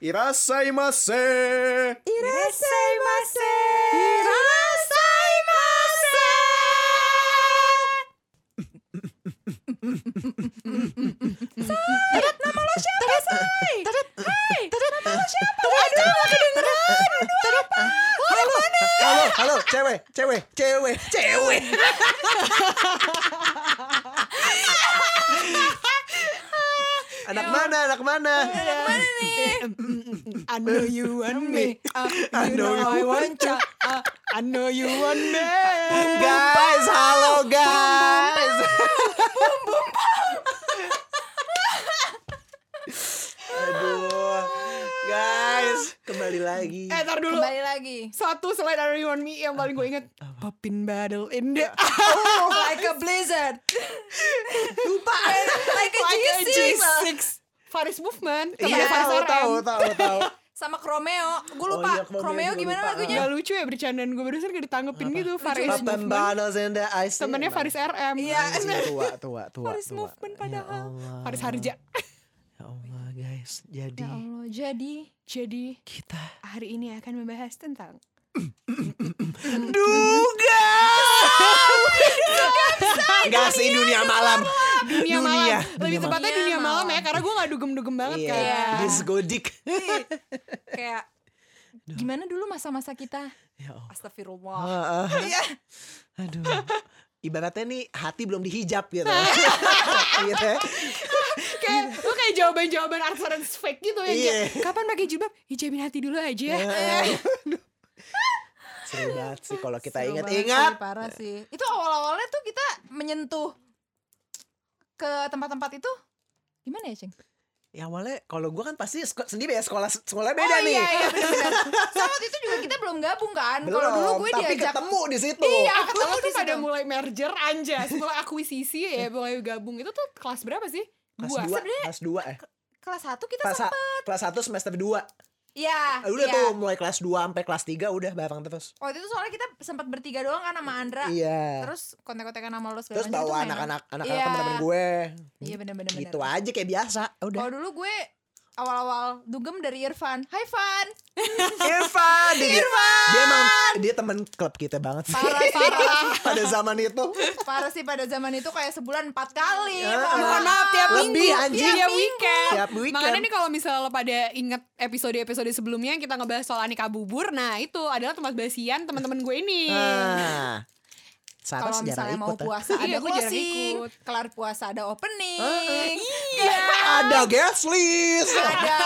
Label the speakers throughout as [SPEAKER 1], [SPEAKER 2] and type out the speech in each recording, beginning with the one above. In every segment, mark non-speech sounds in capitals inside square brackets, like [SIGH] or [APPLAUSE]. [SPEAKER 1] いらっしゃいませいらっしゃいま
[SPEAKER 2] いらっしゃいませ
[SPEAKER 3] Halo, halo, cewek, cewek, cewek, cewek. anak
[SPEAKER 2] Ya.
[SPEAKER 3] mana, anak mana?
[SPEAKER 2] I know you want me. Uh, you know,
[SPEAKER 3] know you
[SPEAKER 2] I want you. Uh, I know you want me.
[SPEAKER 3] Guys, halo guys. Aduh, guys, kembali lagi.
[SPEAKER 2] Eh, tar dulu.
[SPEAKER 4] Kembali
[SPEAKER 3] [LAUGHS]
[SPEAKER 4] lagi.
[SPEAKER 2] Satu selain I know you want me yang paling gue inget. Poppin battle in the...
[SPEAKER 4] Oh, like a blizzard.
[SPEAKER 2] Lupa.
[SPEAKER 4] [LAUGHS] Like a G6.
[SPEAKER 2] Faris Movement.
[SPEAKER 3] Iya,
[SPEAKER 2] temennya Faris
[SPEAKER 3] tahu,
[SPEAKER 2] RM.
[SPEAKER 3] tahu, tahu, tahu.
[SPEAKER 4] Sama Cromeo. Gue
[SPEAKER 3] Oh
[SPEAKER 4] lupa.
[SPEAKER 3] iya, Chromeo
[SPEAKER 4] Cromeo
[SPEAKER 3] gua
[SPEAKER 4] gimana
[SPEAKER 3] lupa.
[SPEAKER 4] lagunya?
[SPEAKER 2] Gak lucu ya bercandaan gue barusan gak ditanggepin gitu. Faris
[SPEAKER 4] Lucu.
[SPEAKER 3] Papan
[SPEAKER 2] Movement.
[SPEAKER 3] Banos and the Ice.
[SPEAKER 2] Temennya Faris RM.
[SPEAKER 4] Iya.
[SPEAKER 3] Anjing, tua, tua, tua.
[SPEAKER 2] Faris
[SPEAKER 3] tua.
[SPEAKER 2] Movement
[SPEAKER 3] Ya
[SPEAKER 2] padahal.
[SPEAKER 3] Allah.
[SPEAKER 2] Faris Harja.
[SPEAKER 3] Ya Allah guys, jadi
[SPEAKER 4] Ya Allah, jadi
[SPEAKER 2] Oh, Jadi
[SPEAKER 3] kita
[SPEAKER 2] hari ini akan membahas tentang
[SPEAKER 3] duga. Enggak sih dunia malam.
[SPEAKER 2] dunia, malam.
[SPEAKER 3] Dunia.
[SPEAKER 2] Lebih
[SPEAKER 3] Dunia
[SPEAKER 2] tepatnya
[SPEAKER 4] malam.
[SPEAKER 2] dunia
[SPEAKER 4] Dunia
[SPEAKER 2] malam ya
[SPEAKER 4] malam.
[SPEAKER 2] karena gue gak dugem-dugem banget
[SPEAKER 3] Iya,
[SPEAKER 2] kan.
[SPEAKER 3] disgodik.
[SPEAKER 4] kayak gimana dulu masa-masa kita?
[SPEAKER 3] Ya Allah.
[SPEAKER 4] Astagfirullah. Iya.
[SPEAKER 3] Ah, ah. Aduh. Ibaratnya nih hati belum dihijab
[SPEAKER 4] [LAUGHS]
[SPEAKER 3] gitu. gitu ya.
[SPEAKER 2] kayak lu kayak jawaban-jawaban artis fake gitu ya.
[SPEAKER 3] Iya.
[SPEAKER 2] kayak, Kapan pakai jilbab? Hijabin hati dulu aja.
[SPEAKER 4] Eh.
[SPEAKER 3] Seru banget sih kalau kita
[SPEAKER 4] Seru banget
[SPEAKER 3] ingat-ingat.
[SPEAKER 4] sih, parah sih. Itu awal-awalnya tuh kita menyentuh ke tempat-tempat itu gimana ya, Ceng?
[SPEAKER 3] Ya awalnya kalau gua kan pasti seko- sendiri ya sekolah sekolah beda
[SPEAKER 4] oh,
[SPEAKER 3] nih.
[SPEAKER 4] Iya, iya,
[SPEAKER 3] [LAUGHS]
[SPEAKER 4] benar-benar. Sama waktu itu juga kita belum gabung kan. Kalau
[SPEAKER 3] Belum,
[SPEAKER 4] dulu gue
[SPEAKER 3] tapi
[SPEAKER 4] diajak
[SPEAKER 3] ketemu di situ.
[SPEAKER 4] Iya,
[SPEAKER 2] Aku
[SPEAKER 4] ketemu
[SPEAKER 2] tuh
[SPEAKER 4] di
[SPEAKER 2] pada
[SPEAKER 4] situ.
[SPEAKER 2] mulai merger anja, mulai akuisisi ya, mulai gabung itu tuh kelas berapa sih?
[SPEAKER 3] Kelas
[SPEAKER 2] Dua.
[SPEAKER 3] 2, kelas 2 eh.
[SPEAKER 4] kelas 1 kita
[SPEAKER 3] Kelas,
[SPEAKER 4] sama.
[SPEAKER 3] kelas 1 semester 2.
[SPEAKER 4] Iya.
[SPEAKER 3] Eh, Udah
[SPEAKER 4] iya.
[SPEAKER 3] tuh mulai kelas 2 sampai kelas 3 udah bareng terus.
[SPEAKER 4] Waktu itu soalnya kita sempat bertiga doang kan sama Andra.
[SPEAKER 3] Iya.
[SPEAKER 4] Terus kontek-kontekan sama lo segala
[SPEAKER 3] Terus
[SPEAKER 4] macam tuh
[SPEAKER 3] bawa
[SPEAKER 4] mainan.
[SPEAKER 3] anak-anak anak-anak
[SPEAKER 4] Iya.
[SPEAKER 3] teman-teman gue.
[SPEAKER 4] Iya benar-benar
[SPEAKER 3] Gitu aja kayak biasa. Udah.
[SPEAKER 4] Kalau dulu gue awal-awal dugem dari Irfan. Hai Fan.
[SPEAKER 3] [LAUGHS] Irfan, dia, dia emang dia teman klub kita banget sih. [LAUGHS]
[SPEAKER 4] Parah parah.
[SPEAKER 3] Pada zaman itu.
[SPEAKER 4] parah sih pada zaman itu kayak sebulan empat kali.
[SPEAKER 3] Ya,
[SPEAKER 4] Mohon
[SPEAKER 3] mohon maaf, tiap
[SPEAKER 4] maaf.
[SPEAKER 3] minggu. Lebih, anjing.
[SPEAKER 2] Tiap
[SPEAKER 3] Tiap
[SPEAKER 2] weekend.
[SPEAKER 3] Tiap weekend.
[SPEAKER 2] Makanya nih kalau misalnya lo pada inget episode-episode sebelumnya yang kita ngebahas soal aneka bubur, nah itu adalah tempat basian teman-teman gue ini.
[SPEAKER 3] Nah. Sarah
[SPEAKER 4] Kalau
[SPEAKER 3] sejarah
[SPEAKER 4] misalnya mau
[SPEAKER 3] ikut. ah.
[SPEAKER 4] puasa
[SPEAKER 2] Iya,
[SPEAKER 4] ada
[SPEAKER 2] gue jarang
[SPEAKER 4] closing,
[SPEAKER 2] ikut.
[SPEAKER 4] kelar puasa ada opening.
[SPEAKER 3] Eh, Ada guest list.
[SPEAKER 4] ada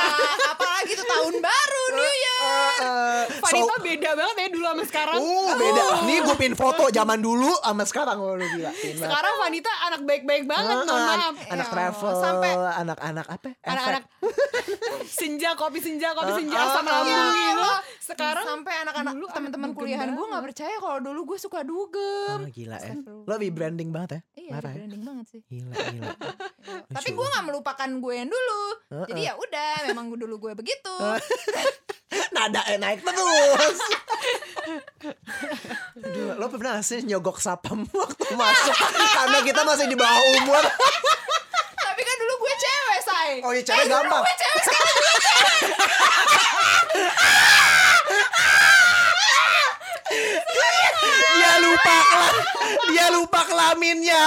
[SPEAKER 4] apalagi tuh tahun baru New Year.
[SPEAKER 3] Eh, eh, so-
[SPEAKER 2] Vanita beda banget ya dulu sama sekarang.
[SPEAKER 3] Uh, beda.
[SPEAKER 4] "Oh."
[SPEAKER 3] Nih gue pin foto zaman dulu sama sekarang lo gila. Pin banget.
[SPEAKER 2] [LAUGHS] Sekarang Vanita anak baik-baik banget,
[SPEAKER 3] Ah,
[SPEAKER 2] mohon maaf.
[SPEAKER 3] an- anak
[SPEAKER 4] Ya,
[SPEAKER 3] travel,
[SPEAKER 4] sampai-
[SPEAKER 3] anak-anak apa? ya?
[SPEAKER 2] anak-anak
[SPEAKER 3] Efek.
[SPEAKER 2] senja kopi senja kopi senja
[SPEAKER 3] Ah,
[SPEAKER 2] asam
[SPEAKER 3] ah,
[SPEAKER 2] lambung
[SPEAKER 4] ah.
[SPEAKER 2] gitu
[SPEAKER 4] Sekarang
[SPEAKER 2] sekarang
[SPEAKER 4] sampai anak-anak
[SPEAKER 2] dulu
[SPEAKER 4] teman-teman
[SPEAKER 2] anak dugem
[SPEAKER 4] kuliahan gue
[SPEAKER 2] banget.
[SPEAKER 4] nggak percaya kalau dulu gue suka dugem.
[SPEAKER 3] Oh, gila ya.
[SPEAKER 4] Astagfirullah.
[SPEAKER 3] Lo rebranding banget ya.
[SPEAKER 4] Iya,
[SPEAKER 3] Parah ya.
[SPEAKER 4] branding banget sih.
[SPEAKER 3] Gila, gila.
[SPEAKER 4] [LAUGHS] Tapi gue nggak melupakan gue yang dulu.
[SPEAKER 3] Heeh.
[SPEAKER 4] Jadi ya udah, memang gue dulu gue begitu.
[SPEAKER 3] [LAUGHS] nada eh, naik
[SPEAKER 4] [LAUGHS]
[SPEAKER 3] terus. Aduh, lo pernah gak sih nyogok sapam [LAUGHS] waktu masuk karena kita masih di bawah umur.
[SPEAKER 4] Tapi kan dulu gue cewek, say.
[SPEAKER 3] Oh iya, cewek
[SPEAKER 4] Eh, dulu
[SPEAKER 3] gampang.
[SPEAKER 4] Gue cewek sekarang
[SPEAKER 3] Dia lupa kelam, dia lupa
[SPEAKER 4] [LAUGHS]
[SPEAKER 3] kelaminnya.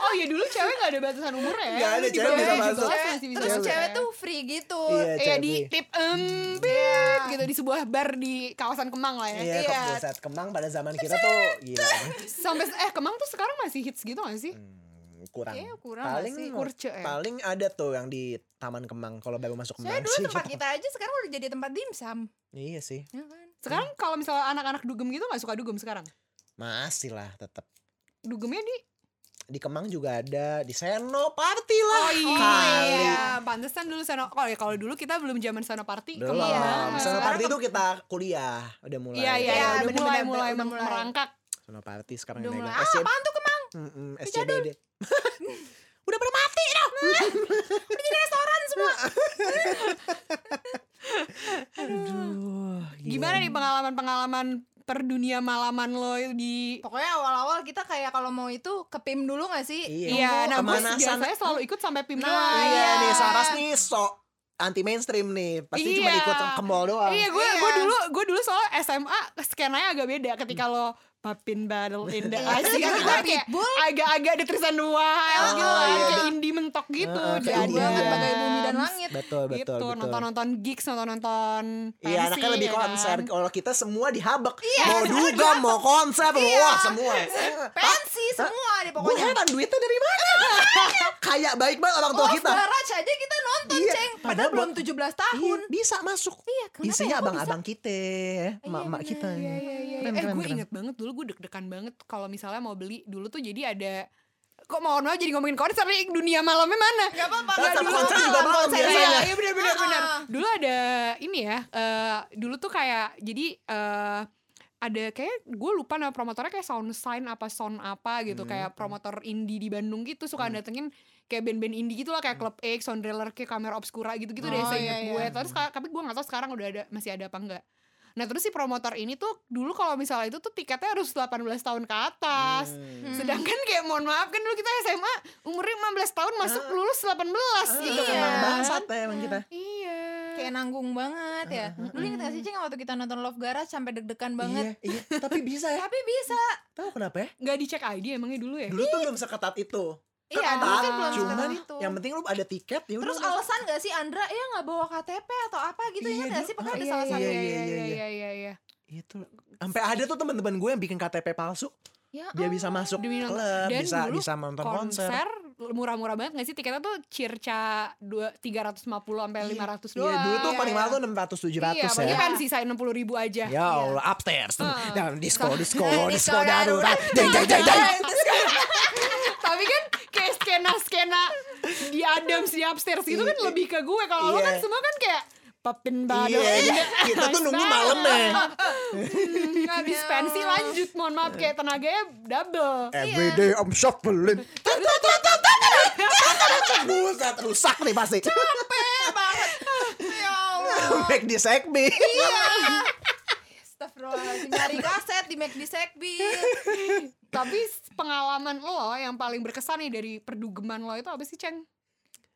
[SPEAKER 2] oh ya dulu cewek nggak ada batasan umurnya ya
[SPEAKER 3] Nggak ada,
[SPEAKER 2] Di
[SPEAKER 3] cewek
[SPEAKER 2] bawah
[SPEAKER 3] bisa
[SPEAKER 2] 17
[SPEAKER 3] masuk.
[SPEAKER 2] masih bisa ya.
[SPEAKER 4] Terus
[SPEAKER 3] Cewek.
[SPEAKER 4] cewek tuh free gitu.
[SPEAKER 3] Iya,
[SPEAKER 2] Iya
[SPEAKER 3] cewek.
[SPEAKER 2] di tip empit gitu di sebuah bar di kawasan Kemang lah ya.
[SPEAKER 3] Iya, ke pusat Kemang pada zaman kita tuh
[SPEAKER 4] [LAUGHS]
[SPEAKER 3] gila.
[SPEAKER 2] Sampai eh Kemang tuh sekarang masih hits gitu gak sih?
[SPEAKER 3] Hmm, kurang.
[SPEAKER 4] Kayaknya kurang gak
[SPEAKER 3] paling
[SPEAKER 4] sih?
[SPEAKER 2] Kurce ya?
[SPEAKER 3] paling ada tuh yang di Taman Kemang kalau baru masuk
[SPEAKER 4] Soalnya
[SPEAKER 3] Kemang
[SPEAKER 4] dulu
[SPEAKER 3] sih.
[SPEAKER 4] tempat kita aja sekarang udah jadi tempat dimsum.
[SPEAKER 3] Iya sih.
[SPEAKER 4] Ya kan?
[SPEAKER 2] Sekarang kalau misalnya anak-anak dugem gitu nggak suka dugem sekarang.
[SPEAKER 3] Masih lah tetap
[SPEAKER 2] Dugemnya di
[SPEAKER 3] di Kemang juga ada di Seno Party lah.
[SPEAKER 2] Oh iya,
[SPEAKER 3] Kali.
[SPEAKER 2] pantesan dulu seno. Kalau ya kalau dulu kita belum zaman seno party.
[SPEAKER 3] Belum.
[SPEAKER 2] Kemang.
[SPEAKER 4] Iya.
[SPEAKER 3] Seno
[SPEAKER 4] Sekarang
[SPEAKER 3] Party
[SPEAKER 4] ke-
[SPEAKER 3] itu kita kuliah udah mulai.
[SPEAKER 2] Iya iya, iya,
[SPEAKER 4] Iya,
[SPEAKER 2] udah
[SPEAKER 4] bener-bener,
[SPEAKER 2] mulai
[SPEAKER 4] bener,
[SPEAKER 2] mulai
[SPEAKER 4] udah mulai.
[SPEAKER 2] merangkak.
[SPEAKER 3] Seno Party sekarang
[SPEAKER 4] Udah
[SPEAKER 3] yang
[SPEAKER 4] mulai.
[SPEAKER 3] megang
[SPEAKER 4] Ah,
[SPEAKER 3] SCD.
[SPEAKER 4] apaan tuh kemang?
[SPEAKER 3] Mm-mm, SCBD.
[SPEAKER 4] Udah pada mati dah. udah jadi restoran semua.
[SPEAKER 3] Aduh.
[SPEAKER 2] Gimana nih pengalaman-pengalaman per dunia malaman lo di
[SPEAKER 4] Pokoknya awal-awal kita kayak kalau mau itu ke PIM dulu gak sih?
[SPEAKER 2] Iya, nah gue
[SPEAKER 3] Kemana
[SPEAKER 2] biasanya
[SPEAKER 3] sana?
[SPEAKER 2] selalu ikut sampai PIM
[SPEAKER 4] Nah,
[SPEAKER 2] doang.
[SPEAKER 3] Iya
[SPEAKER 4] Iya.
[SPEAKER 3] nih Saras nih sok anti mainstream nih. Pasti cuma
[SPEAKER 2] Iya.
[SPEAKER 3] ikut sama kembol doang.
[SPEAKER 2] Iya, gue
[SPEAKER 4] Iya.
[SPEAKER 2] gue dulu gue dulu soal SMA skenanya agak beda ketika lo Papin Battle in the
[SPEAKER 4] [LAUGHS] Iya,
[SPEAKER 2] Ice
[SPEAKER 4] ketika
[SPEAKER 2] gitu
[SPEAKER 4] kita
[SPEAKER 2] kan kayak
[SPEAKER 4] Pitbull.
[SPEAKER 2] agak-agak ada Tristan Wild
[SPEAKER 3] Oh,
[SPEAKER 2] gitu kan,
[SPEAKER 3] iya.
[SPEAKER 2] kayak indie mentok gitu
[SPEAKER 3] Heeh, kayak
[SPEAKER 2] dan
[SPEAKER 4] Jauh
[SPEAKER 3] Iya.
[SPEAKER 4] banget bagai kan bumi dan langit.
[SPEAKER 3] Betul betul
[SPEAKER 2] gitu
[SPEAKER 3] betul.
[SPEAKER 2] nonton-nonton gigs nonton-nonton
[SPEAKER 3] Iya
[SPEAKER 2] pensi,
[SPEAKER 3] anaknya lebih
[SPEAKER 2] ya kan?
[SPEAKER 3] konser. Kalau kita semua dihabek.
[SPEAKER 4] Iya,
[SPEAKER 3] mau duga, mau konser, mau wah
[SPEAKER 4] [LAUGHS]
[SPEAKER 3] semua. Iya.
[SPEAKER 4] Pensi semua deh
[SPEAKER 3] Gue
[SPEAKER 4] pokoknya.
[SPEAKER 3] heran duitnya dari mana? [LAUGHS] Kayak baik banget orang tua
[SPEAKER 4] Oh,
[SPEAKER 3] kita.
[SPEAKER 4] Baraj aja kita nonton,
[SPEAKER 3] Iya,
[SPEAKER 4] Ceng. Padahal,
[SPEAKER 3] padahal
[SPEAKER 4] belum
[SPEAKER 3] buat-
[SPEAKER 4] 17 tahun.
[SPEAKER 3] Iya, bisa masuk.
[SPEAKER 4] Iya, kenapa
[SPEAKER 3] Isinya
[SPEAKER 4] ya? Kok
[SPEAKER 3] abang-abang kita, mak-mak
[SPEAKER 4] bener.
[SPEAKER 3] kita.
[SPEAKER 4] Iya,
[SPEAKER 2] Iya, iya, iya.
[SPEAKER 3] Keren,
[SPEAKER 2] eh
[SPEAKER 3] keren,
[SPEAKER 2] gue
[SPEAKER 3] keren.
[SPEAKER 2] inget banget dulu gue deg-degan banget kalau misalnya mau beli dulu tuh jadi ada kok mau mau jadi ngomongin konser nih dunia malamnya mana
[SPEAKER 4] Gak apa-apa.
[SPEAKER 3] Tapi
[SPEAKER 4] Gak
[SPEAKER 3] sama
[SPEAKER 4] dulu
[SPEAKER 3] konser
[SPEAKER 4] malam,
[SPEAKER 3] juga malam
[SPEAKER 4] konser
[SPEAKER 3] biasanya.
[SPEAKER 4] iya.
[SPEAKER 2] Iya, iya benar benar benar.
[SPEAKER 4] Ah.
[SPEAKER 2] Dulu ada ini ya, eh dulu tuh kayak jadi eh ada kayak gue lupa nama promotornya kayak sound sign apa sound apa
[SPEAKER 3] Hmm.
[SPEAKER 2] gitu kayak promotor indie di Bandung gitu suka
[SPEAKER 4] Hmm.
[SPEAKER 2] datengin kayak band-band indie gitu lah kayak Club X, Sound Driller, kayak Kamera Obscura gitu-gitu deh
[SPEAKER 4] Oh,
[SPEAKER 2] saya
[SPEAKER 4] iya,
[SPEAKER 2] gue.
[SPEAKER 4] iya.
[SPEAKER 2] Terus ka- tapi gue gak tahu sekarang udah ada masih ada apa enggak. Nah terus si promotor ini tuh dulu kalau misalnya itu tuh tiketnya harus 18 tahun ke atas.
[SPEAKER 4] Hmm.
[SPEAKER 2] Sedangkan kayak mohon maaf kan dulu kita SMA umurnya 15 tahun masuk
[SPEAKER 3] Ah.
[SPEAKER 2] lulus 18
[SPEAKER 3] Itu
[SPEAKER 2] iya.
[SPEAKER 3] emang bangsat ya emang kita.
[SPEAKER 2] Iya.
[SPEAKER 4] Kayak nanggung banget ya. Lu inget gak sih, Ceng, waktu kita nonton Love Garage sampai deg-degan banget.
[SPEAKER 3] Iya, iya. Tapi bisa ya.
[SPEAKER 4] Tapi bisa.
[SPEAKER 3] Tahu kenapa ya?
[SPEAKER 2] nggak dicek ID emangnya dulu ya?
[SPEAKER 3] Dulu tuh belum seketat itu.
[SPEAKER 4] Iya, dulu kan belum
[SPEAKER 3] Cuman
[SPEAKER 4] seketat itu.
[SPEAKER 3] yang penting lu ada tiket ya
[SPEAKER 4] Terus
[SPEAKER 3] udah.
[SPEAKER 4] alasan gak sih Andra ya nggak bawa KTP atau apa gitu
[SPEAKER 3] Iya,
[SPEAKER 4] ya nggak
[SPEAKER 3] dulu-
[SPEAKER 4] sih
[SPEAKER 3] ah,
[SPEAKER 4] pokoknya ada
[SPEAKER 3] iya,
[SPEAKER 4] salah
[SPEAKER 3] iya,
[SPEAKER 4] satu
[SPEAKER 2] iya
[SPEAKER 3] iya,
[SPEAKER 2] iya
[SPEAKER 3] iya.
[SPEAKER 2] iya iya iya.
[SPEAKER 3] itu sampai ada tuh teman-teman gue yang bikin KTP palsu
[SPEAKER 4] Ya
[SPEAKER 3] dia bisa masuk
[SPEAKER 2] Demi nonton-
[SPEAKER 3] klub
[SPEAKER 2] dan
[SPEAKER 3] bisa
[SPEAKER 2] dulu
[SPEAKER 3] bisa nonton konser,
[SPEAKER 2] Konser murah-murah banget gak sih tiketnya tuh circa dua 350 sampai 500 doang.
[SPEAKER 3] Iya, dulu tuh
[SPEAKER 4] Iya,
[SPEAKER 3] paling mahal
[SPEAKER 4] iya.
[SPEAKER 3] tuh 600 700
[SPEAKER 2] iya,
[SPEAKER 3] ya.
[SPEAKER 2] apalagi kan sisain 60 ribu aja.
[SPEAKER 3] Ya Allah, upstairs tuh.
[SPEAKER 2] Heeh.
[SPEAKER 3] Dan disco, disco,
[SPEAKER 4] Disco
[SPEAKER 3] disco
[SPEAKER 4] darurat.
[SPEAKER 3] darurat. Jeng, jeng, jeng, jeng.
[SPEAKER 2] [LAUGHS] Tapi kan kayak skena-skena di Adams di upstairs itu kan lebih ke gue kalau lo
[SPEAKER 3] Iya.
[SPEAKER 2] kan semua kan kayak Papin badut
[SPEAKER 3] Iya, iya. kita tuh nunggu malam deh. Iya.
[SPEAKER 2] Nggak dispensi lanjut mohon maaf kayak tenaganya double
[SPEAKER 3] Every day I'm shuffling. Buset, rusak nih pasti.
[SPEAKER 4] banget. Ya Allah.
[SPEAKER 3] [LAUGHS] Back di Sekbi.
[SPEAKER 4] Astagfirullahaladzim. Nyari kaset di McD
[SPEAKER 3] [LAUGHS]
[SPEAKER 4] Sekbi.
[SPEAKER 2] tapi pengalaman lo yang paling berkesan nih dari perdugeman lo itu apa sih Ceng?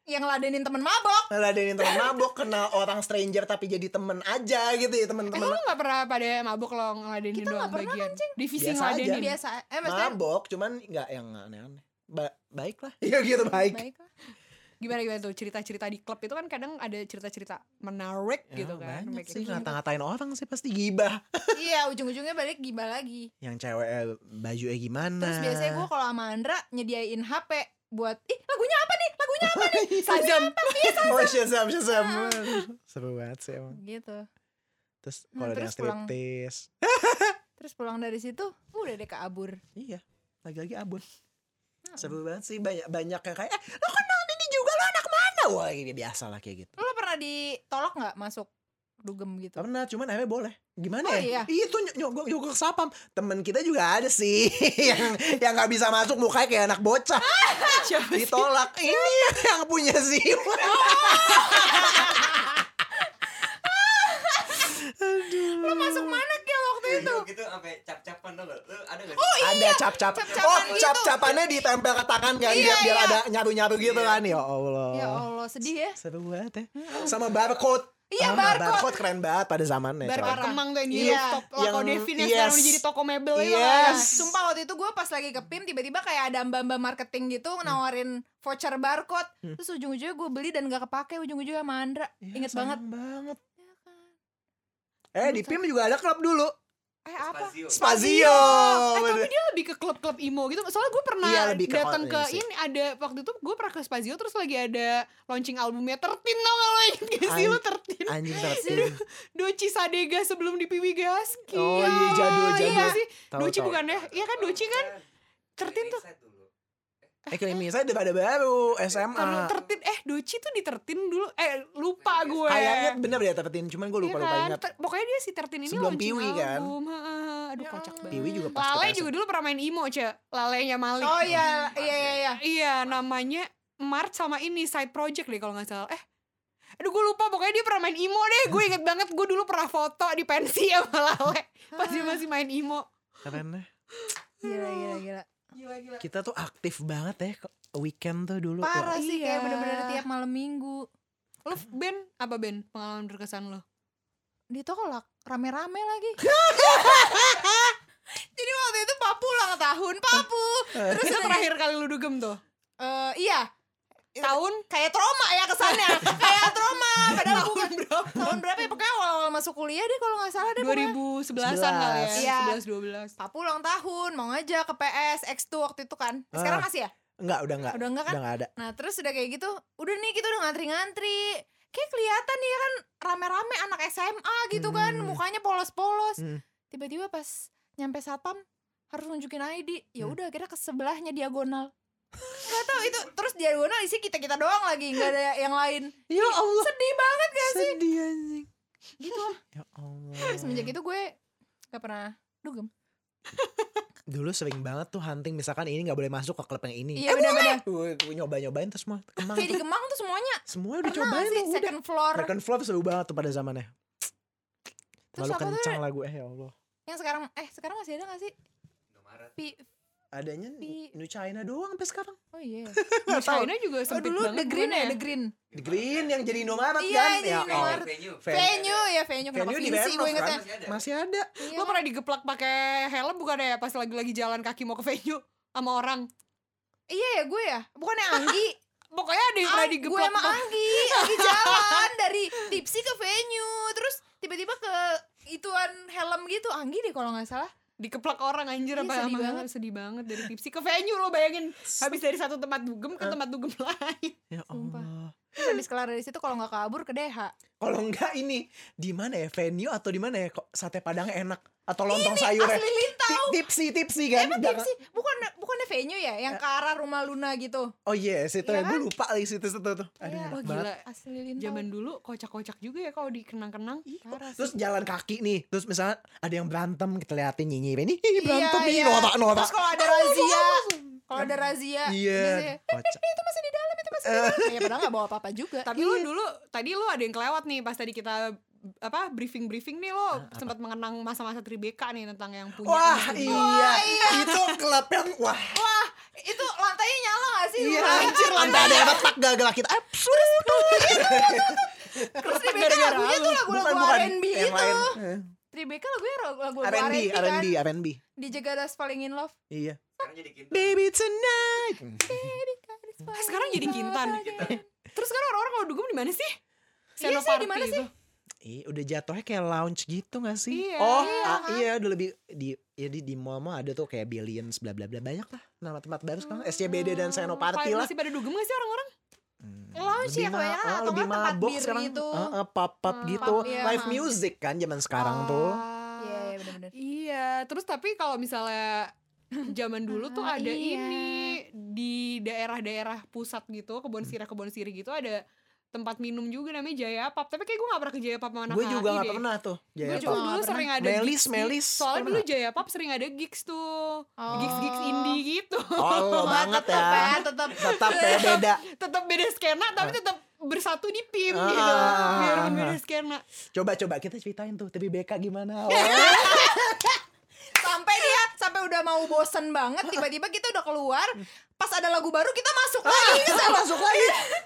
[SPEAKER 4] Yang ladenin temen mabok.
[SPEAKER 3] Malah ada yang teman mabok, kenal orang stranger tapi jadi temen aja gitu ya
[SPEAKER 2] Eh lo
[SPEAKER 3] teman-teman.
[SPEAKER 2] nggak pernah pada mabuk lo ngeladenin
[SPEAKER 4] Kita
[SPEAKER 2] doang
[SPEAKER 4] nggak pernah
[SPEAKER 2] bagian
[SPEAKER 4] kan, Ceng?
[SPEAKER 2] divisi
[SPEAKER 3] Biasa
[SPEAKER 2] ngeladenin
[SPEAKER 3] aja.
[SPEAKER 4] Biasa. Eh maksudnya
[SPEAKER 3] Mabok, cuman nggak yang aneh-aneh. Ba- baik lah. Iya gitu baik.
[SPEAKER 4] baik lah.
[SPEAKER 2] gimana gimana tuh cerita-cerita di klub itu kan kadang ada cerita-cerita menarik
[SPEAKER 3] Ya,
[SPEAKER 2] gitu kan
[SPEAKER 3] banyak
[SPEAKER 2] Kayak
[SPEAKER 3] sih
[SPEAKER 2] gitu.
[SPEAKER 3] ngata-ngatain orang sih pasti gibah
[SPEAKER 4] Iya ujung-ujungnya balik gimana lagi.
[SPEAKER 3] yang cewek eh, bajunya gimana
[SPEAKER 4] Terus biasanya gue kalau sama Andra nyediain HP buat ih lagunya apa nih lagunya apa [LAUGHS] nih
[SPEAKER 2] Sajam.
[SPEAKER 3] [LAUGHS] oh shazam shazam seru banget sih emang
[SPEAKER 4] gitu
[SPEAKER 3] terus
[SPEAKER 4] Iya. Hmm,
[SPEAKER 3] kalau ada
[SPEAKER 4] terus
[SPEAKER 3] yang
[SPEAKER 4] pulang.
[SPEAKER 3] striptease
[SPEAKER 4] terus pulang dari situ udah deh keabur
[SPEAKER 3] iya lagi-lagi abon
[SPEAKER 4] Hmm.
[SPEAKER 3] seru banget sih banyak banyak yang kayak eh lo kenal ini juga lo anak mana wah ini biasa lah kayak gitu
[SPEAKER 4] lo pernah ditolak nggak masuk dugem gitu
[SPEAKER 3] pernah cuman akhirnya boleh gimana
[SPEAKER 4] Oh,
[SPEAKER 3] ya
[SPEAKER 4] iya.
[SPEAKER 3] itu ny- nyogok nyogok sapam temen kita juga ada sih [LAUGHS] yang yang nggak bisa masuk mukanya kayak anak bocah
[SPEAKER 4] [LAUGHS]
[SPEAKER 2] Siapa sih?
[SPEAKER 3] ditolak ini [LAUGHS] yang punya Siwa
[SPEAKER 4] lo masuk mana ke waktu itu
[SPEAKER 5] Iya, gitu sampai cap-capan tau gak? Lu ada gak sih?
[SPEAKER 4] [LAUGHS]
[SPEAKER 2] Oh, iya.
[SPEAKER 3] ada cap-cap
[SPEAKER 4] Iya, cap-capan
[SPEAKER 3] oh
[SPEAKER 4] gitu.
[SPEAKER 3] cap-capannya ditempel ke tangan kan
[SPEAKER 4] Iya,
[SPEAKER 3] biar, biar
[SPEAKER 4] iya.
[SPEAKER 3] ada nyaru-nyaru gitu kan ya Allah
[SPEAKER 4] ya allah sedih ya
[SPEAKER 3] seru banget ya sama barcode
[SPEAKER 4] Iya,
[SPEAKER 3] Ah,
[SPEAKER 4] barcode.
[SPEAKER 3] keren banget pada zamannya
[SPEAKER 2] Bar
[SPEAKER 3] coy.
[SPEAKER 2] kemang tuh yang di
[SPEAKER 3] Iya,
[SPEAKER 2] rooftop Lako
[SPEAKER 3] yang-
[SPEAKER 2] Devin yang
[SPEAKER 3] yes. Iya.
[SPEAKER 2] sekarang udah jadi toko mebel itu
[SPEAKER 3] Yes.
[SPEAKER 2] kan.
[SPEAKER 4] Nah, Sumpah waktu itu gue pas lagi ke PIM tiba-tiba kayak ada mbak-mbak marketing gitu nawarin voucher barcode Terus ujung-ujungnya gue beli dan gak kepake ujung-ujungnya sama Andra
[SPEAKER 3] Iya,
[SPEAKER 4] Ingat
[SPEAKER 3] sayang
[SPEAKER 4] banget Iya kan?
[SPEAKER 3] banget eh di PIM juga ada klub dulu
[SPEAKER 4] Eh apa?
[SPEAKER 5] Spazio.
[SPEAKER 3] Spazio
[SPEAKER 2] Eh, tapi dia lebih ke klub-klub emo gitu. Soalnya gue pernah
[SPEAKER 3] Iya, lebih ke
[SPEAKER 2] datang ke
[SPEAKER 3] hotline sih.
[SPEAKER 2] ini ada waktu itu gue pernah ke Spazio terus lagi ada launching albumnya Tertin tau gak lo inget gak sih
[SPEAKER 3] Ay-
[SPEAKER 2] lo Tertin?
[SPEAKER 4] Eh,
[SPEAKER 3] anjing tertim
[SPEAKER 2] Doci Sadega sebelum di Piwi Gaski.
[SPEAKER 3] oh iya jadul
[SPEAKER 2] Iya
[SPEAKER 3] jadul
[SPEAKER 2] gak sih?
[SPEAKER 3] Tahu,
[SPEAKER 2] Doci
[SPEAKER 3] tahu.
[SPEAKER 2] bukan ya? Iya kan Doci kan? Tertin tuh.
[SPEAKER 5] Ringside dulu.
[SPEAKER 3] eh klinik saya ada baru
[SPEAKER 2] Karena
[SPEAKER 3] SMA
[SPEAKER 2] Tertin eh Doci tuh di Tertin dulu. Eh lupa
[SPEAKER 3] Nah.
[SPEAKER 2] gue.
[SPEAKER 3] kayaknya bener deh tertim cuman gue
[SPEAKER 2] Iya
[SPEAKER 3] lupa lupa
[SPEAKER 2] kan?
[SPEAKER 3] ingat
[SPEAKER 2] Ter- Pokoknya dia si Tertin ini
[SPEAKER 3] Sebelum
[SPEAKER 2] launching
[SPEAKER 3] Piwi kan? Ya
[SPEAKER 2] album. Heeh. Aduh kocak banget.
[SPEAKER 3] Piwi juga pas
[SPEAKER 2] Lale
[SPEAKER 3] kita
[SPEAKER 2] juga dulu pernah main emo, Ce. Lalenya Malik.
[SPEAKER 4] Oh iya, iya, iya, iya
[SPEAKER 2] Iya, namanya Mart sama ini side project deh kalau nggak salah. Eh, aduh gue lupa pokoknya dia pernah main imo deh gue inget banget gue dulu pernah foto di pensi sama Lawe pas dia masih main imo
[SPEAKER 3] Keren deh.
[SPEAKER 4] Gila, gila, gila.
[SPEAKER 5] Gila gila.
[SPEAKER 3] Kita tuh aktif banget ya kok weekend tuh dulu.
[SPEAKER 4] Parah sih
[SPEAKER 2] Iya.
[SPEAKER 4] kayak bener-bener tiap malam minggu.
[SPEAKER 2] lo Ben apa Ben pengalaman berkesan
[SPEAKER 3] [LAUGHS]
[SPEAKER 2] lo
[SPEAKER 4] Ditolak rame-rame lagi. Jadi waktu itu Papu ulang tahun, Papu.
[SPEAKER 2] terus itu terakhir kali lu dugem tuh
[SPEAKER 4] Eh, iya,
[SPEAKER 2] tahun
[SPEAKER 4] kayak trauma ya kesannya. kayak trauma padahal tahun berapa? Tahun berapa ya pokoknya awal-awal masuk kuliah deh kalau nggak salah deh. pokoknya.
[SPEAKER 2] 2011an kali ya
[SPEAKER 4] Iya.
[SPEAKER 2] 11 12
[SPEAKER 4] Papu ulang tahun, mau ngajak ke PS X2 waktu itu kan. Sekarang
[SPEAKER 3] Ah.
[SPEAKER 4] masih ya?
[SPEAKER 3] Enggak, udah enggak.
[SPEAKER 4] Udah enggak kan?
[SPEAKER 3] Udah enggak ada.
[SPEAKER 4] Nah terus udah kayak gitu, udah nih kita udah ngantri-ngantri. Kayak kelihatan nih kan rame-rame anak SMA gitu kan,
[SPEAKER 3] Hmm.
[SPEAKER 4] mukanya polos-polos.
[SPEAKER 3] Hmm.
[SPEAKER 4] Tiba-tiba pas nyampe satpam harus nunjukin ID. Ya
[SPEAKER 3] Hmm.
[SPEAKER 4] udah akhirnya ke sebelahnya diagonal. Gak tau itu terus diagonal isi kita kita doang lagi nggak ada yang lain.
[SPEAKER 3] Ya Allah.
[SPEAKER 4] Sedih banget gak sih?
[SPEAKER 3] Sedih anjing.
[SPEAKER 4] Gitu lah.
[SPEAKER 3] [LAUGHS] Ya Allah.
[SPEAKER 4] Terus semenjak itu gue gak pernah dugem.
[SPEAKER 3] Dulu sering banget tuh hunting misalkan ini nggak boleh masuk ke klub yang ini.
[SPEAKER 4] Iya benar-benar.
[SPEAKER 3] Gue nyoba nyobain terus semua kemang.
[SPEAKER 4] Kayak di Gemang tuh semuanya
[SPEAKER 3] Semua udah
[SPEAKER 4] pernah
[SPEAKER 3] cobain
[SPEAKER 4] sih
[SPEAKER 3] tuh udah.
[SPEAKER 4] second floor
[SPEAKER 3] Second flop seru banget tuh pada zamannya.
[SPEAKER 4] Terus
[SPEAKER 3] Lalu
[SPEAKER 4] apa tuh?
[SPEAKER 3] kencang lagu eh ya Allah.
[SPEAKER 4] yang sekarang eh sekarang masih ada gak sih?
[SPEAKER 5] Indomaret.
[SPEAKER 4] Pi-
[SPEAKER 3] Adanya
[SPEAKER 4] Tapi-
[SPEAKER 3] New China doang sampai sekarang.
[SPEAKER 4] Oh iya.
[SPEAKER 2] Di China juga
[SPEAKER 4] Oh,
[SPEAKER 2] sempit
[SPEAKER 4] dulu
[SPEAKER 2] banget
[SPEAKER 4] The Green
[SPEAKER 2] bukannya
[SPEAKER 4] ya, The Green.
[SPEAKER 3] The Green yang jadi Indomaret
[SPEAKER 4] Iya,
[SPEAKER 3] kan?
[SPEAKER 4] jadi
[SPEAKER 3] Ya Allah.
[SPEAKER 4] Indomaret.
[SPEAKER 5] Venue.
[SPEAKER 3] Ven-
[SPEAKER 4] Venue ya, venue kenapa
[SPEAKER 3] Venue di
[SPEAKER 4] Vinci gue
[SPEAKER 3] Bandung
[SPEAKER 4] ingetnya.
[SPEAKER 3] kan?
[SPEAKER 5] Masih ada.
[SPEAKER 3] Masih ada.
[SPEAKER 4] Iya.
[SPEAKER 2] Lo pernah digeplak pakai helm bukan ya pas lagi-lagi jalan kaki mau ke venue sama orang.
[SPEAKER 4] Iya ya gue ya. Bukan yang [LAUGHS] Anggi.
[SPEAKER 2] Pokoknya ada yang
[SPEAKER 4] Ang,
[SPEAKER 2] pernah
[SPEAKER 4] Ah, gue
[SPEAKER 2] digeplak.
[SPEAKER 4] sama
[SPEAKER 2] pakai-
[SPEAKER 4] Anggi, Anggi jalan dari Tipsi ke venue, terus tiba-tiba ke ituan helm gitu Anggi deh kalau nggak salah.
[SPEAKER 2] Digeplak orang anjir
[SPEAKER 4] Iya,
[SPEAKER 2] apa
[SPEAKER 4] sedih
[SPEAKER 2] sama helm.
[SPEAKER 4] banget.
[SPEAKER 2] sedih banget dari tipsi ke venue lo bayangin habis dari satu tempat dugem ke tempat dugem lain.
[SPEAKER 3] Ya
[SPEAKER 4] Sumpah.
[SPEAKER 3] Allah.
[SPEAKER 4] Terus habis kelar dari situ kalau nggak kabur ke DH.
[SPEAKER 3] Kalau enggak ini di mana ya venue atau di mana ya kok sate padangnya enak atau lontong ya? sayurnya.
[SPEAKER 4] Asli Lintau.
[SPEAKER 3] Ti- Tipsi tipsi kan.
[SPEAKER 4] Emang
[SPEAKER 3] Belakang-
[SPEAKER 4] Tipsi bukan bukannya venue ya yang ke arah rumah Luna gitu.
[SPEAKER 3] Oh iya, situ
[SPEAKER 4] Iya
[SPEAKER 3] ya. Gue lupa lagi situ situ tuh. Aduh,
[SPEAKER 4] Iya.
[SPEAKER 3] enak
[SPEAKER 2] Wah
[SPEAKER 3] banget.
[SPEAKER 2] gila.
[SPEAKER 4] Asli Lintau.
[SPEAKER 2] Zaman dulu kocak-kocak juga ya kalau dikenang-kenang.
[SPEAKER 4] Parah sih.
[SPEAKER 3] Terus jalan kaki nih, terus misalnya ada yang berantem kita liatin nyinyir ini, "Ih,
[SPEAKER 4] Iya,
[SPEAKER 3] berantem nih,
[SPEAKER 4] iya.
[SPEAKER 3] norak norak.
[SPEAKER 4] Terus kalau ada razia, kalau ada razia,
[SPEAKER 3] Iya,
[SPEAKER 4] biasanya,
[SPEAKER 3] Eh. kocak.
[SPEAKER 4] itu masih di dalam, itu masih di dalam. ya padahal nggak bawa apa-apa juga.
[SPEAKER 2] Tapi lo dulu tadi lo ada yang kelewat nih pas tadi kita apa briefing-briefing nih lo sempat mengenang masa-masa Tribeka nih tentang yang punya.
[SPEAKER 3] Wah
[SPEAKER 2] ini.
[SPEAKER 3] iya, itu klub yang wah
[SPEAKER 4] Wah, itu lantainya nyala gak sih?
[SPEAKER 3] iya
[SPEAKER 4] Wah,
[SPEAKER 3] anjir lantai ada yang retak gagal kita Eh, absurd
[SPEAKER 4] Terus
[SPEAKER 2] Retak
[SPEAKER 4] Tribeka
[SPEAKER 2] gara-gara
[SPEAKER 4] lagunya tuh
[SPEAKER 2] lu.
[SPEAKER 4] lagu-lagu R&B
[SPEAKER 3] yang
[SPEAKER 4] itu.
[SPEAKER 3] lain.
[SPEAKER 4] Tribeka lagunya lagu-lagu
[SPEAKER 3] Eh,
[SPEAKER 4] R&B,
[SPEAKER 3] R&B,
[SPEAKER 4] kan.
[SPEAKER 3] R&B, R&B.
[SPEAKER 4] Di Jagadas Paling In Love.
[SPEAKER 3] Iya.
[SPEAKER 5] Sekarang jadi kintan.
[SPEAKER 3] Baby tonight.
[SPEAKER 2] Ah, sekarang jadi Kintan. gitu. Terus sekarang orang-orang kalau dugem di mana sih?
[SPEAKER 4] Iya sih,
[SPEAKER 2] Senoparty
[SPEAKER 4] di mana
[SPEAKER 2] itu.
[SPEAKER 4] sih?
[SPEAKER 3] Ih, udah jatuhnya kayak lounge gitu gak sih?
[SPEAKER 2] Iya.
[SPEAKER 3] oh,
[SPEAKER 4] Iya,
[SPEAKER 3] ah,
[SPEAKER 4] kan?
[SPEAKER 3] iya udah lebih di ya di, di mall mall ada tuh kayak Billions bla bla bla banyak lah nama tempat baru sekarang
[SPEAKER 4] Hmm,
[SPEAKER 3] SCBD dan Senoparty
[SPEAKER 2] Pada-
[SPEAKER 3] lah.
[SPEAKER 2] Masih pada dugem gak sih orang-orang?
[SPEAKER 3] Hmm,
[SPEAKER 4] Lounge ya,
[SPEAKER 3] ma-
[SPEAKER 4] kebanyakan
[SPEAKER 3] ah,
[SPEAKER 4] atau
[SPEAKER 3] lebih
[SPEAKER 4] nggak tempat
[SPEAKER 3] mabok
[SPEAKER 4] bir
[SPEAKER 3] sekarang
[SPEAKER 4] gitu.
[SPEAKER 3] Ah, ah, pub pub
[SPEAKER 2] Hmm,
[SPEAKER 3] gitu
[SPEAKER 4] pub, iya,
[SPEAKER 3] live
[SPEAKER 4] ha.
[SPEAKER 3] music kan zaman sekarang tuh
[SPEAKER 2] Ah,
[SPEAKER 4] Iya, iya, bener-bener.
[SPEAKER 2] Iya, terus tapi kalau misalnya
[SPEAKER 4] [LAUGHS]
[SPEAKER 2] zaman dulu tuh
[SPEAKER 4] Ah,
[SPEAKER 2] ada
[SPEAKER 4] iya.
[SPEAKER 2] ini di daerah-daerah pusat gitu, kebon
[SPEAKER 3] Hmm.
[SPEAKER 2] sirih kebon sirih gitu ada tempat minum juga namanya Jaya Pub. Tapi kayak gue gak pernah ke Jaya Pub sama anak
[SPEAKER 3] gue juga
[SPEAKER 2] HI
[SPEAKER 3] nggak
[SPEAKER 2] deh.
[SPEAKER 3] pernah tuh
[SPEAKER 2] Gue
[SPEAKER 3] Jaya
[SPEAKER 2] juga
[SPEAKER 3] Pub.
[SPEAKER 4] Pub.
[SPEAKER 2] dulu
[SPEAKER 4] Nggak
[SPEAKER 2] sering ada
[SPEAKER 3] Melis,
[SPEAKER 2] gigs di-
[SPEAKER 3] Melis,
[SPEAKER 2] Soalnya dulu
[SPEAKER 3] pernah.
[SPEAKER 2] Jaya Pub sering ada gigs tuh
[SPEAKER 4] Oh.
[SPEAKER 2] Gigs-gigs indie gitu
[SPEAKER 3] oh lo banget ya
[SPEAKER 4] tetep.
[SPEAKER 3] tetap
[SPEAKER 4] [LAUGHS]
[SPEAKER 3] ya beda
[SPEAKER 2] Tetap beda skena tapi tetap bersatu di PIM
[SPEAKER 3] Ah,
[SPEAKER 2] gitu
[SPEAKER 3] ah, ah,
[SPEAKER 2] Biarpun
[SPEAKER 3] ah.
[SPEAKER 2] beda skena
[SPEAKER 3] coba coba kita ceritain tuh tapi BK gimana Oh.
[SPEAKER 4] [LAUGHS] Sampai dia, sampai udah mau bosen banget, tiba-tiba kita udah keluar, pas ada lagu baru kita masuk
[SPEAKER 3] Ah,
[SPEAKER 4] lagi.
[SPEAKER 3] bisa Iya, masuk lagi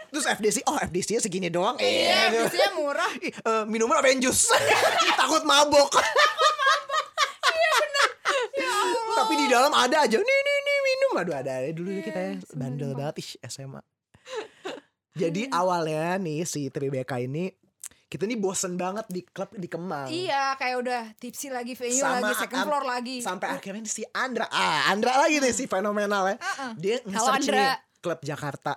[SPEAKER 3] terus FDC oh FDC nya segini doang
[SPEAKER 4] Iya,
[SPEAKER 3] iya
[SPEAKER 4] biasanya murah.
[SPEAKER 3] Ih, eh, minuman apa yang jus [LAUGHS] takut mabok
[SPEAKER 4] Iya, Ya
[SPEAKER 3] tapi di dalam ada aja nih nih nih minum aduh ada ada dulu
[SPEAKER 4] Iya,
[SPEAKER 3] kita ya bandel banget ih
[SPEAKER 4] [LAUGHS]
[SPEAKER 3] SMA jadi awalnya nih si Tribeka ini kita nih bosen banget di klub di Kemang
[SPEAKER 4] Iya, kayak udah tipsi lagi, venue
[SPEAKER 3] Sama
[SPEAKER 4] lagi, second
[SPEAKER 3] am-
[SPEAKER 4] floor lagi.
[SPEAKER 3] sampai akhirnya si Andra ah Andra lagi nih si fenomenal ya
[SPEAKER 4] Uh-uh.
[SPEAKER 3] dia
[SPEAKER 4] Halo,
[SPEAKER 3] nge-search
[SPEAKER 4] Andra.
[SPEAKER 3] nih klub Jakarta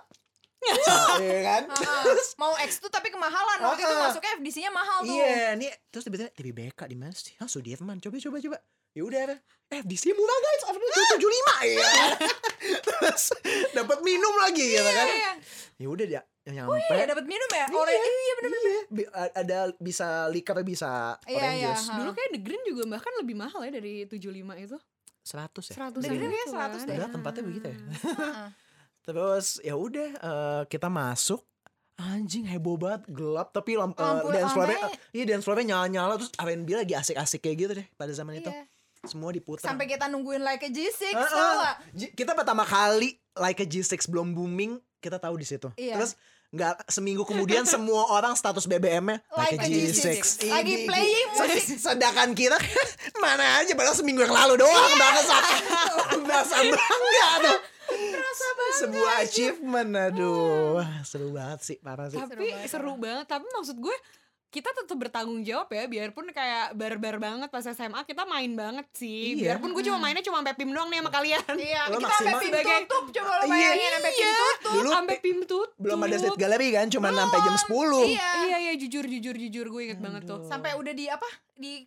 [SPEAKER 3] Sa- [LAUGHS] iya kan
[SPEAKER 4] Heeh. mau X tuh tapi kemahalan waktu itu
[SPEAKER 3] Heeh.
[SPEAKER 4] masuknya FDC-nya mahal tuh.
[SPEAKER 3] Iya, nih terus tiba-tiba TBBK di mana sih? Ah, Sudirman. Coba coba coba. Ya udah. Ra. Eh, di sini murah guys. Harganya
[SPEAKER 4] [GASPS]
[SPEAKER 3] 75 ya. terus dapat minum lagi gitu kan.
[SPEAKER 4] iya.
[SPEAKER 3] Ya udah dia nyampe.
[SPEAKER 4] Iya, dapat minum ya.
[SPEAKER 3] Iya,
[SPEAKER 4] Orange.
[SPEAKER 3] [LAUGHS] iya benar ada bisa liker bisa
[SPEAKER 4] Iya,
[SPEAKER 3] orange
[SPEAKER 4] iya,
[SPEAKER 3] juice.
[SPEAKER 4] ha.
[SPEAKER 2] Dulu kayak The Green juga bahkan lebih mahal ya dari 75 itu
[SPEAKER 3] 100 ya.
[SPEAKER 2] 100
[SPEAKER 4] The Green kayak 100 deh.
[SPEAKER 3] [LAUGHS] Udah tempatnya begitu ya.
[SPEAKER 4] Heeh.
[SPEAKER 3] Terus ya udah eh, kita masuk anjing heboh banget gelap tapi lampu
[SPEAKER 4] Lampu
[SPEAKER 3] dance floor-nya
[SPEAKER 4] lamanya-
[SPEAKER 3] eh, iya dance floor-nya nyala-nyala terus R&B lagi asik-asik kayak gitu deh pada zaman itu
[SPEAKER 4] Iya.
[SPEAKER 3] semua diputar
[SPEAKER 4] Sampai kita nungguin like a G6
[SPEAKER 3] Ah,
[SPEAKER 4] tau
[SPEAKER 3] ah.
[SPEAKER 4] gak?
[SPEAKER 3] J- kita pertama kali like a G6 belum booming kita tahu di situ
[SPEAKER 4] Iya.
[SPEAKER 3] terus nggak seminggu
[SPEAKER 4] [LAUGHS]
[SPEAKER 3] kemudian semua orang status BBM-nya
[SPEAKER 4] Like a G6. Lagi playing musik.
[SPEAKER 3] Sed- sedangkan kita [LAUGHS] mana aja padahal seminggu yang lalu
[SPEAKER 4] Iya.
[SPEAKER 3] doang bahasa [LAUGHS] bahasa bangga tuh sebuah achievement aduh
[SPEAKER 4] Hmm.
[SPEAKER 3] Wah, seru banget sih parah sih
[SPEAKER 2] tapi
[SPEAKER 4] banget,
[SPEAKER 2] seru banget tapi maksud gue kita tetap bertanggung jawab ya biarpun kayak barbar banget pas SMA kita main banget sih
[SPEAKER 3] Iya.
[SPEAKER 2] biarpun gue cuma mainnya cuma sampai pim doang nih sama kalian
[SPEAKER 4] [LAUGHS] Iya,
[SPEAKER 3] Lo
[SPEAKER 4] kita sampai
[SPEAKER 3] maksimal.
[SPEAKER 4] pintu tutup coba lo
[SPEAKER 3] Iya,
[SPEAKER 4] bayangin sampai
[SPEAKER 2] iya.
[SPEAKER 4] pintu tutup.
[SPEAKER 3] dulu
[SPEAKER 2] sampai pim tuh
[SPEAKER 3] belum ada set gallery kan cuma sampai jam 10
[SPEAKER 4] Iya.
[SPEAKER 2] iya iya jujur jujur jujur gue inget banget tuh
[SPEAKER 4] Sampai udah di apa? Di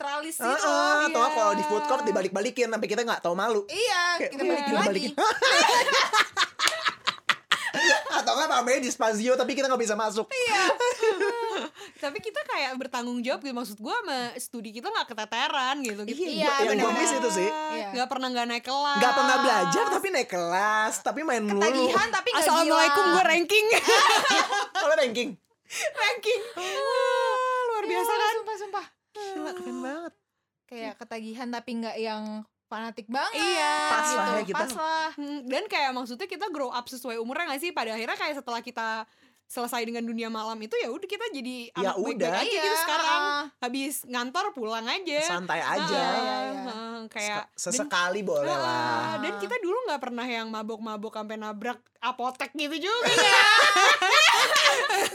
[SPEAKER 4] tralis
[SPEAKER 3] Ah,
[SPEAKER 4] gitu.
[SPEAKER 3] ah, atau
[SPEAKER 2] iya.
[SPEAKER 3] kalau di food court dibalik-balikin sampai kita nggak tahu malu
[SPEAKER 4] Iya,
[SPEAKER 3] Kayak,
[SPEAKER 4] kita
[SPEAKER 3] "Wih,
[SPEAKER 4] balikin
[SPEAKER 3] gila,
[SPEAKER 4] lagi.
[SPEAKER 3] balikin." [LAUGHS] atau nggak pamernya di spazio tapi kita nggak bisa masuk
[SPEAKER 2] tapi kita kayak bertanggung jawab gitu maksud gue sama studi kita nggak keteteran gitu gitu
[SPEAKER 4] Iya,
[SPEAKER 3] Gua- yang gue
[SPEAKER 4] bener-bener.
[SPEAKER 3] miss itu sih
[SPEAKER 4] Iya.
[SPEAKER 2] nggak pernah nggak naik kelas
[SPEAKER 3] nggak pernah belajar tapi naik kelas tapi main mulu
[SPEAKER 4] Tagihan tapi enggak gila.
[SPEAKER 2] assalamualaikum gue ranking
[SPEAKER 3] kalau ranking
[SPEAKER 2] [LAUGHS] ranking Ah, luar biasa
[SPEAKER 4] Iya,
[SPEAKER 2] kan
[SPEAKER 4] Sumpah, sumpah.
[SPEAKER 3] gila keren banget
[SPEAKER 4] Kayak ketagihan tapi nggak yang fanatik banget. gitu.
[SPEAKER 2] Iya.
[SPEAKER 3] Pas lah ya kita.
[SPEAKER 4] Pas lah.
[SPEAKER 2] Hmm, dan kayak maksudnya kita grow up sesuai umurnya gak sih pada akhirnya kayak setelah kita selesai dengan dunia malam itu ya udah kita jadi
[SPEAKER 3] Ya
[SPEAKER 2] anak baik-baik
[SPEAKER 3] udah.
[SPEAKER 2] aja gitu sekarang
[SPEAKER 4] ah.
[SPEAKER 2] habis ngantor pulang aja
[SPEAKER 3] santai
[SPEAKER 2] Ah,
[SPEAKER 3] aja
[SPEAKER 2] ah,
[SPEAKER 4] Iya, iya.
[SPEAKER 2] ah, kayak
[SPEAKER 3] Sek- sesekali boleh
[SPEAKER 2] Ah,
[SPEAKER 3] lah
[SPEAKER 2] dan kita dulu nggak pernah yang mabok-mabok sampai nabrak apotek gitu juga
[SPEAKER 3] [LAUGHS]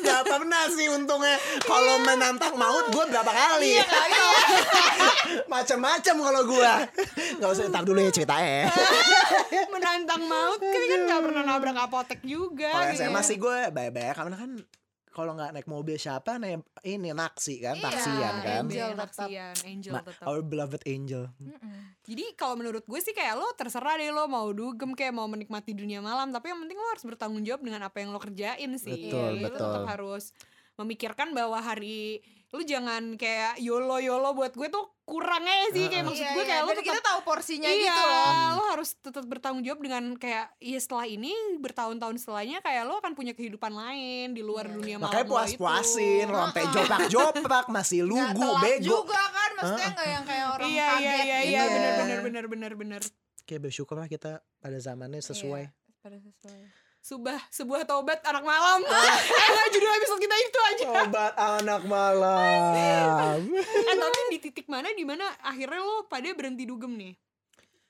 [SPEAKER 3] Gak pernah sih untungnya Kalau menantang maut gue berapa kali [LAUGHS] Macem-macem kalau gue Gak usah ntar dulu ya ceritanya
[SPEAKER 2] menantang maut kita kan nggak pernah nabrak apotek juga
[SPEAKER 3] Kalau
[SPEAKER 2] gitu
[SPEAKER 3] SMA
[SPEAKER 2] ya.
[SPEAKER 3] sih gue bayar-bayar Karena kan kalau nggak naik mobil siapa naik ini naksi kan
[SPEAKER 4] Iya,
[SPEAKER 3] taksian kan
[SPEAKER 4] iya.
[SPEAKER 2] angel
[SPEAKER 4] Angel tetap.
[SPEAKER 2] taksian angel
[SPEAKER 3] Ma-
[SPEAKER 2] tetap
[SPEAKER 3] our beloved angel
[SPEAKER 2] Hmm.
[SPEAKER 4] Mm-mm.
[SPEAKER 2] Jadi kalau menurut gue sih kayak lo terserah deh lo mau dugem kayak mau menikmati dunia malam tapi yang penting lo harus bertanggung jawab dengan apa yang lo kerjain sih.
[SPEAKER 3] Betul,
[SPEAKER 2] Jadi Lo tetap
[SPEAKER 3] betul.
[SPEAKER 2] harus memikirkan bahwa hari lo jangan kayak yolo yolo buat gue tuh kurang aja sih kayak maksud
[SPEAKER 4] Iya,
[SPEAKER 2] gue
[SPEAKER 4] iya.
[SPEAKER 2] kayak lo
[SPEAKER 4] Dan
[SPEAKER 2] tetap
[SPEAKER 4] kita tahu porsinya
[SPEAKER 2] iya,
[SPEAKER 4] gitu loh.
[SPEAKER 2] lo harus tetap bertanggung jawab dengan kayak ya setelah ini bertahun-tahun setelahnya kayak lo akan punya kehidupan lain di luar
[SPEAKER 4] Iya.
[SPEAKER 2] dunia malam
[SPEAKER 3] Makanya
[SPEAKER 2] lo
[SPEAKER 3] puas-puasin
[SPEAKER 2] itu.
[SPEAKER 3] Lo sampai joprak-joprak Masih
[SPEAKER 4] Nggak
[SPEAKER 3] lugu
[SPEAKER 4] telat
[SPEAKER 3] bego
[SPEAKER 4] juga kan maksudnya nggak yang kayak orang
[SPEAKER 2] Iya
[SPEAKER 4] kaget
[SPEAKER 2] iya iya
[SPEAKER 4] gitu.
[SPEAKER 2] iya
[SPEAKER 3] gitu.
[SPEAKER 2] benar benar benar benar benar.
[SPEAKER 3] Kayak bersyukur lah kita pada zamannya
[SPEAKER 4] Iya.
[SPEAKER 3] sesuai
[SPEAKER 4] Pada sesuai.
[SPEAKER 2] Subah, sebuah tobat anak malam. [LAUGHS] Eh, Judul episode kita itu
[SPEAKER 3] [LAUGHS]
[SPEAKER 2] aja.
[SPEAKER 3] Obat anak
[SPEAKER 4] [LAUGHS]
[SPEAKER 3] malam
[SPEAKER 2] Eh, tapi di titik mana di mana akhirnya lo pada berhenti dugem nih?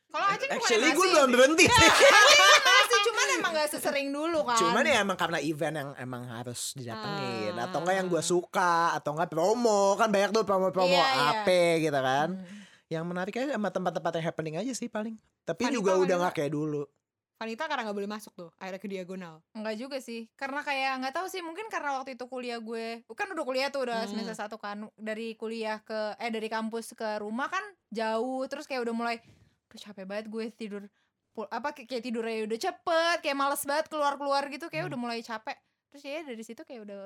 [SPEAKER 4] Kalau Acin bukan
[SPEAKER 3] Eh, Actually gue
[SPEAKER 4] masih-
[SPEAKER 3] belum berhenti
[SPEAKER 4] [LAUGHS] Acin masih cuman emang gak sesering dulu kan.
[SPEAKER 3] Cuman ya emang karena event yang emang harus didatengin
[SPEAKER 2] Ah.
[SPEAKER 3] Atau enggak yang gue suka Atau enggak promo Kan banyak tuh promo-promo
[SPEAKER 4] Iya, iya.
[SPEAKER 3] AP gitu kan Yang menariknya sama tempat-tempat yang happening aja sih paling Tapi
[SPEAKER 2] Wanita,
[SPEAKER 3] juga udah
[SPEAKER 2] wanita.
[SPEAKER 3] gak kayak dulu
[SPEAKER 2] Vanita karena nggak boleh masuk tuh, akhirnya ke diagonal.
[SPEAKER 4] Enggak juga sih. Karena kayak nggak tahu sih mungkin karena waktu itu kuliah gue, kan udah kuliah tuh
[SPEAKER 2] Hmm.
[SPEAKER 4] udah semester satu kan dari kuliah ke eh dari kampus ke rumah kan jauh terus kayak udah mulai tuh capek banget gue tidur pul- apa kayak kayak tidurnya ya udah cepet kayak males banget keluar-keluar gitu kayak
[SPEAKER 3] Hmm.
[SPEAKER 4] udah mulai capek. Terus ya dari situ kayak udah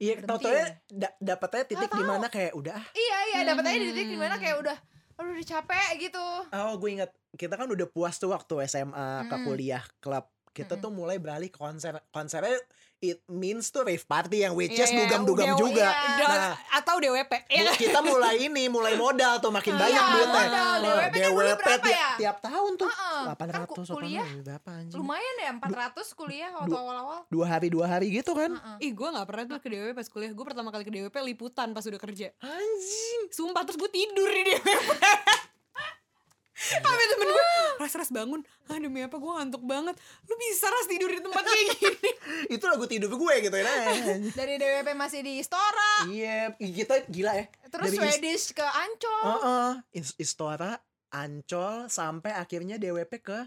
[SPEAKER 3] Iya
[SPEAKER 4] Berhenti
[SPEAKER 3] tau-taunya
[SPEAKER 4] ya?
[SPEAKER 3] da- dapetnya titik
[SPEAKER 4] tahu.
[SPEAKER 3] dimana kayak udah ah,
[SPEAKER 4] iya iya dapat aja di titik
[SPEAKER 2] Hmm.
[SPEAKER 4] dimana kayak udah aduh udah capek gitu.
[SPEAKER 3] Oh gue ingat Kita kan udah puas tuh waktu SMA ke
[SPEAKER 4] Mm-mm.
[SPEAKER 3] kuliah klub kita
[SPEAKER 4] Mm-mm.
[SPEAKER 3] tuh mulai beralih ke konser konsernya it means tuh rave party yang which is
[SPEAKER 2] Iya, iya,
[SPEAKER 3] dugam-dugam
[SPEAKER 2] udah-
[SPEAKER 3] juga
[SPEAKER 2] Da-
[SPEAKER 4] iya.
[SPEAKER 3] nah
[SPEAKER 2] atau DWP. Iya.
[SPEAKER 3] Bu- kita mulai ini mulai modal tuh makin banyak
[SPEAKER 4] Iya,
[SPEAKER 3] duitnya Nah,
[SPEAKER 4] modal.
[SPEAKER 3] Wah,
[SPEAKER 4] DWP kan dulu berapa
[SPEAKER 3] tiap,
[SPEAKER 4] ya?
[SPEAKER 3] tiap tahun tuh
[SPEAKER 4] Heeh,
[SPEAKER 3] delapan
[SPEAKER 4] kan ku-
[SPEAKER 3] ratus
[SPEAKER 4] kuliah
[SPEAKER 3] berapa anjing
[SPEAKER 4] Lumayan ya 400 kuliah waktu
[SPEAKER 3] dua-
[SPEAKER 4] awal-awal.
[SPEAKER 3] dua hari dua hari gitu kan
[SPEAKER 2] Ih,
[SPEAKER 4] Heeh.
[SPEAKER 2] gue nggak pernah tuh ke DWP pas kuliah. Gue pertama kali ke DWP liputan pas udah kerja.
[SPEAKER 3] anjing
[SPEAKER 2] Sumpah terus gue tidur di DWP. Sampai temen gue ras-ras bangun. Ah demi apa gue ngantuk banget. Lu bisa ras tidur di tempat kayak [LAUGHS] gini.
[SPEAKER 3] itu lagu tidur gue gitu ya
[SPEAKER 4] [LAUGHS]
[SPEAKER 3] anjing.
[SPEAKER 4] Dari DWP masih di Istora,
[SPEAKER 3] iya kita gila ya
[SPEAKER 4] terus
[SPEAKER 3] Dari is- Oh.
[SPEAKER 4] Swedish ke Ancol.
[SPEAKER 3] Heeh,
[SPEAKER 4] Oh.
[SPEAKER 3] Is- Istora Ancol sampai akhirnya DWP ke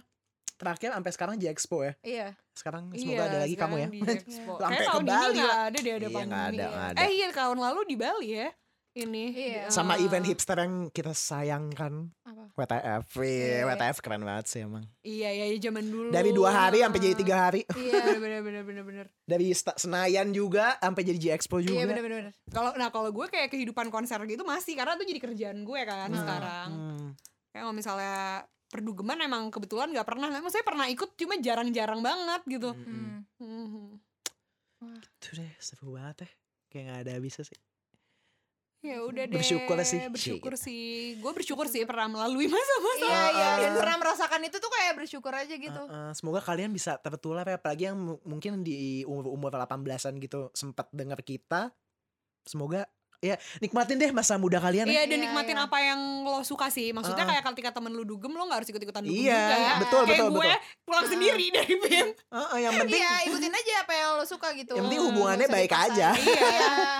[SPEAKER 3] terakhir sampai sekarang Jexpo ya
[SPEAKER 4] Iya.
[SPEAKER 3] [LAUGHS] sekarang semoga ada lagi kamu ya
[SPEAKER 2] Iya, sekarang di Expo.
[SPEAKER 3] [LAUGHS] Sampai
[SPEAKER 2] Kayaknya
[SPEAKER 3] ke
[SPEAKER 2] tahun
[SPEAKER 3] Bali
[SPEAKER 2] ini nggak
[SPEAKER 3] lah.
[SPEAKER 2] ada deh ada
[SPEAKER 3] Iya, nggak
[SPEAKER 2] pandemi.
[SPEAKER 3] ada, nggak ada.
[SPEAKER 2] Eh iya tahun lalu di Bali ya. Ini.
[SPEAKER 4] Iya.
[SPEAKER 2] Di-
[SPEAKER 3] sama
[SPEAKER 2] eh,
[SPEAKER 3] event hipster yang kita sayangkan
[SPEAKER 4] Apa?
[SPEAKER 3] WTF Wih,
[SPEAKER 4] Iya. Mm-hmm.
[SPEAKER 3] WTF keren banget sih emang
[SPEAKER 2] Iya iya iya, zaman dulu.
[SPEAKER 3] dari dua hari sampai jadi tiga hari
[SPEAKER 4] Iya.
[SPEAKER 2] bener bener bener bener
[SPEAKER 3] dari Sta- Senayan juga sampai jadi G Expo juga.
[SPEAKER 4] Iya benar-benar.
[SPEAKER 2] kalau nah kalau gue kayak kehidupan konser gitu masih karena itu jadi kerjaan gue kan sekarang
[SPEAKER 3] Hmm.
[SPEAKER 2] kayak kalau misalnya perdugeman
[SPEAKER 4] mm.
[SPEAKER 2] emang kebetulan nggak pernah maksudnya pernah ikut cuma jarang-jarang banget gitu
[SPEAKER 4] Mm-hmm.
[SPEAKER 3] Mm-mm.
[SPEAKER 2] Mhm.
[SPEAKER 3] Itu deh seru banget ya. Kayak gak ada habisnya sih.
[SPEAKER 2] ya
[SPEAKER 4] Iya
[SPEAKER 2] udah deh
[SPEAKER 3] Bersyukur sih. Iya.
[SPEAKER 2] bersyukur sih gue bersyukur sih pernah melalui masa-masa
[SPEAKER 4] Iya iya dan pernah merasakan itu tuh kayak bersyukur aja gitu.
[SPEAKER 3] Uh-uh, semoga kalian bisa tertular ya apalagi yang mu- mungkin di umur-umur 18-an gitu sempat dengar kita. Semoga ya nikmatin deh masa muda kalian. ya.
[SPEAKER 2] Iya dan
[SPEAKER 4] Iya,
[SPEAKER 2] nikmatin
[SPEAKER 4] iya.
[SPEAKER 2] apa yang lo suka sih Maksudnya
[SPEAKER 3] Heeh.
[SPEAKER 2] kayak ketika temen lu dugem Lo gak harus ikut-ikutan dugem
[SPEAKER 3] Iya,
[SPEAKER 2] juga
[SPEAKER 3] betul,
[SPEAKER 2] Kayak
[SPEAKER 3] betul,
[SPEAKER 2] gue
[SPEAKER 3] betul.
[SPEAKER 2] pulang sendiri dari BM
[SPEAKER 3] Uh-uh, yang penting
[SPEAKER 4] Iya ikutin aja apa yang lo suka gitu.
[SPEAKER 3] Yang penting
[SPEAKER 4] Hmm,
[SPEAKER 3] hubungannya
[SPEAKER 4] nggak usah
[SPEAKER 3] baik
[SPEAKER 4] dipaksain.
[SPEAKER 3] aja. [LAUGHS]
[SPEAKER 4] Iya.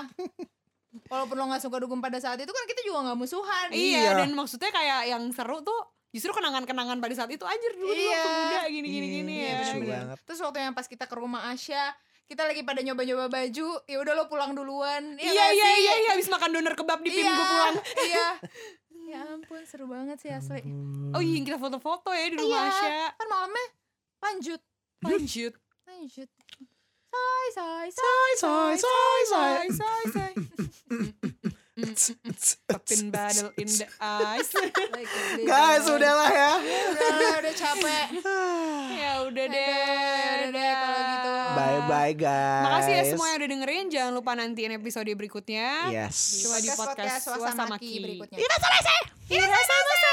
[SPEAKER 4] Walaupun lo gak suka dukung pada saat itu kan kita juga gak musuhan.
[SPEAKER 2] Iya
[SPEAKER 3] Iya.
[SPEAKER 2] dan maksudnya kayak yang seru tuh Justru kenangan-kenangan pada saat itu Anjir dulu
[SPEAKER 4] Iya.
[SPEAKER 2] waktu muda gini-gini
[SPEAKER 3] Iya,
[SPEAKER 2] gini
[SPEAKER 3] iya,
[SPEAKER 2] ya
[SPEAKER 3] lucu
[SPEAKER 2] gitu.
[SPEAKER 3] banget.
[SPEAKER 4] Terus waktu yang pas kita ke rumah Asya, kita lagi pada nyoba-nyoba baju, ya udah lo pulang duluan.
[SPEAKER 2] Iya
[SPEAKER 4] nggak
[SPEAKER 2] iya
[SPEAKER 4] sih?
[SPEAKER 2] iya iya Abis makan doner kebab di pim gue pulang
[SPEAKER 4] Iya. Ya ampun seru banget sih asli.
[SPEAKER 2] Oh iya kita foto-foto ya di rumah
[SPEAKER 4] Iya.
[SPEAKER 2] Asya
[SPEAKER 4] Kan malamnya lanjut,
[SPEAKER 2] Lanjut
[SPEAKER 4] lanjut. Say, say, say.
[SPEAKER 3] Say, say, say.
[SPEAKER 2] Say say
[SPEAKER 4] [LAUGHS]
[SPEAKER 2] say Mm, Pepin battle in the ice
[SPEAKER 3] Guys, udahlah ya.
[SPEAKER 4] udah, udah capek.
[SPEAKER 2] Ya udah deh
[SPEAKER 4] ya Udah deh kalau gitu.
[SPEAKER 3] Bye bye guys. Iya.
[SPEAKER 2] Makasih ya semua yang udah dengerin. Jangan lupa nantiin episode berikutnya.
[SPEAKER 3] Yes.
[SPEAKER 2] Cuma di podcast Suasana Ki.
[SPEAKER 4] berikutnya.
[SPEAKER 2] Iya, sama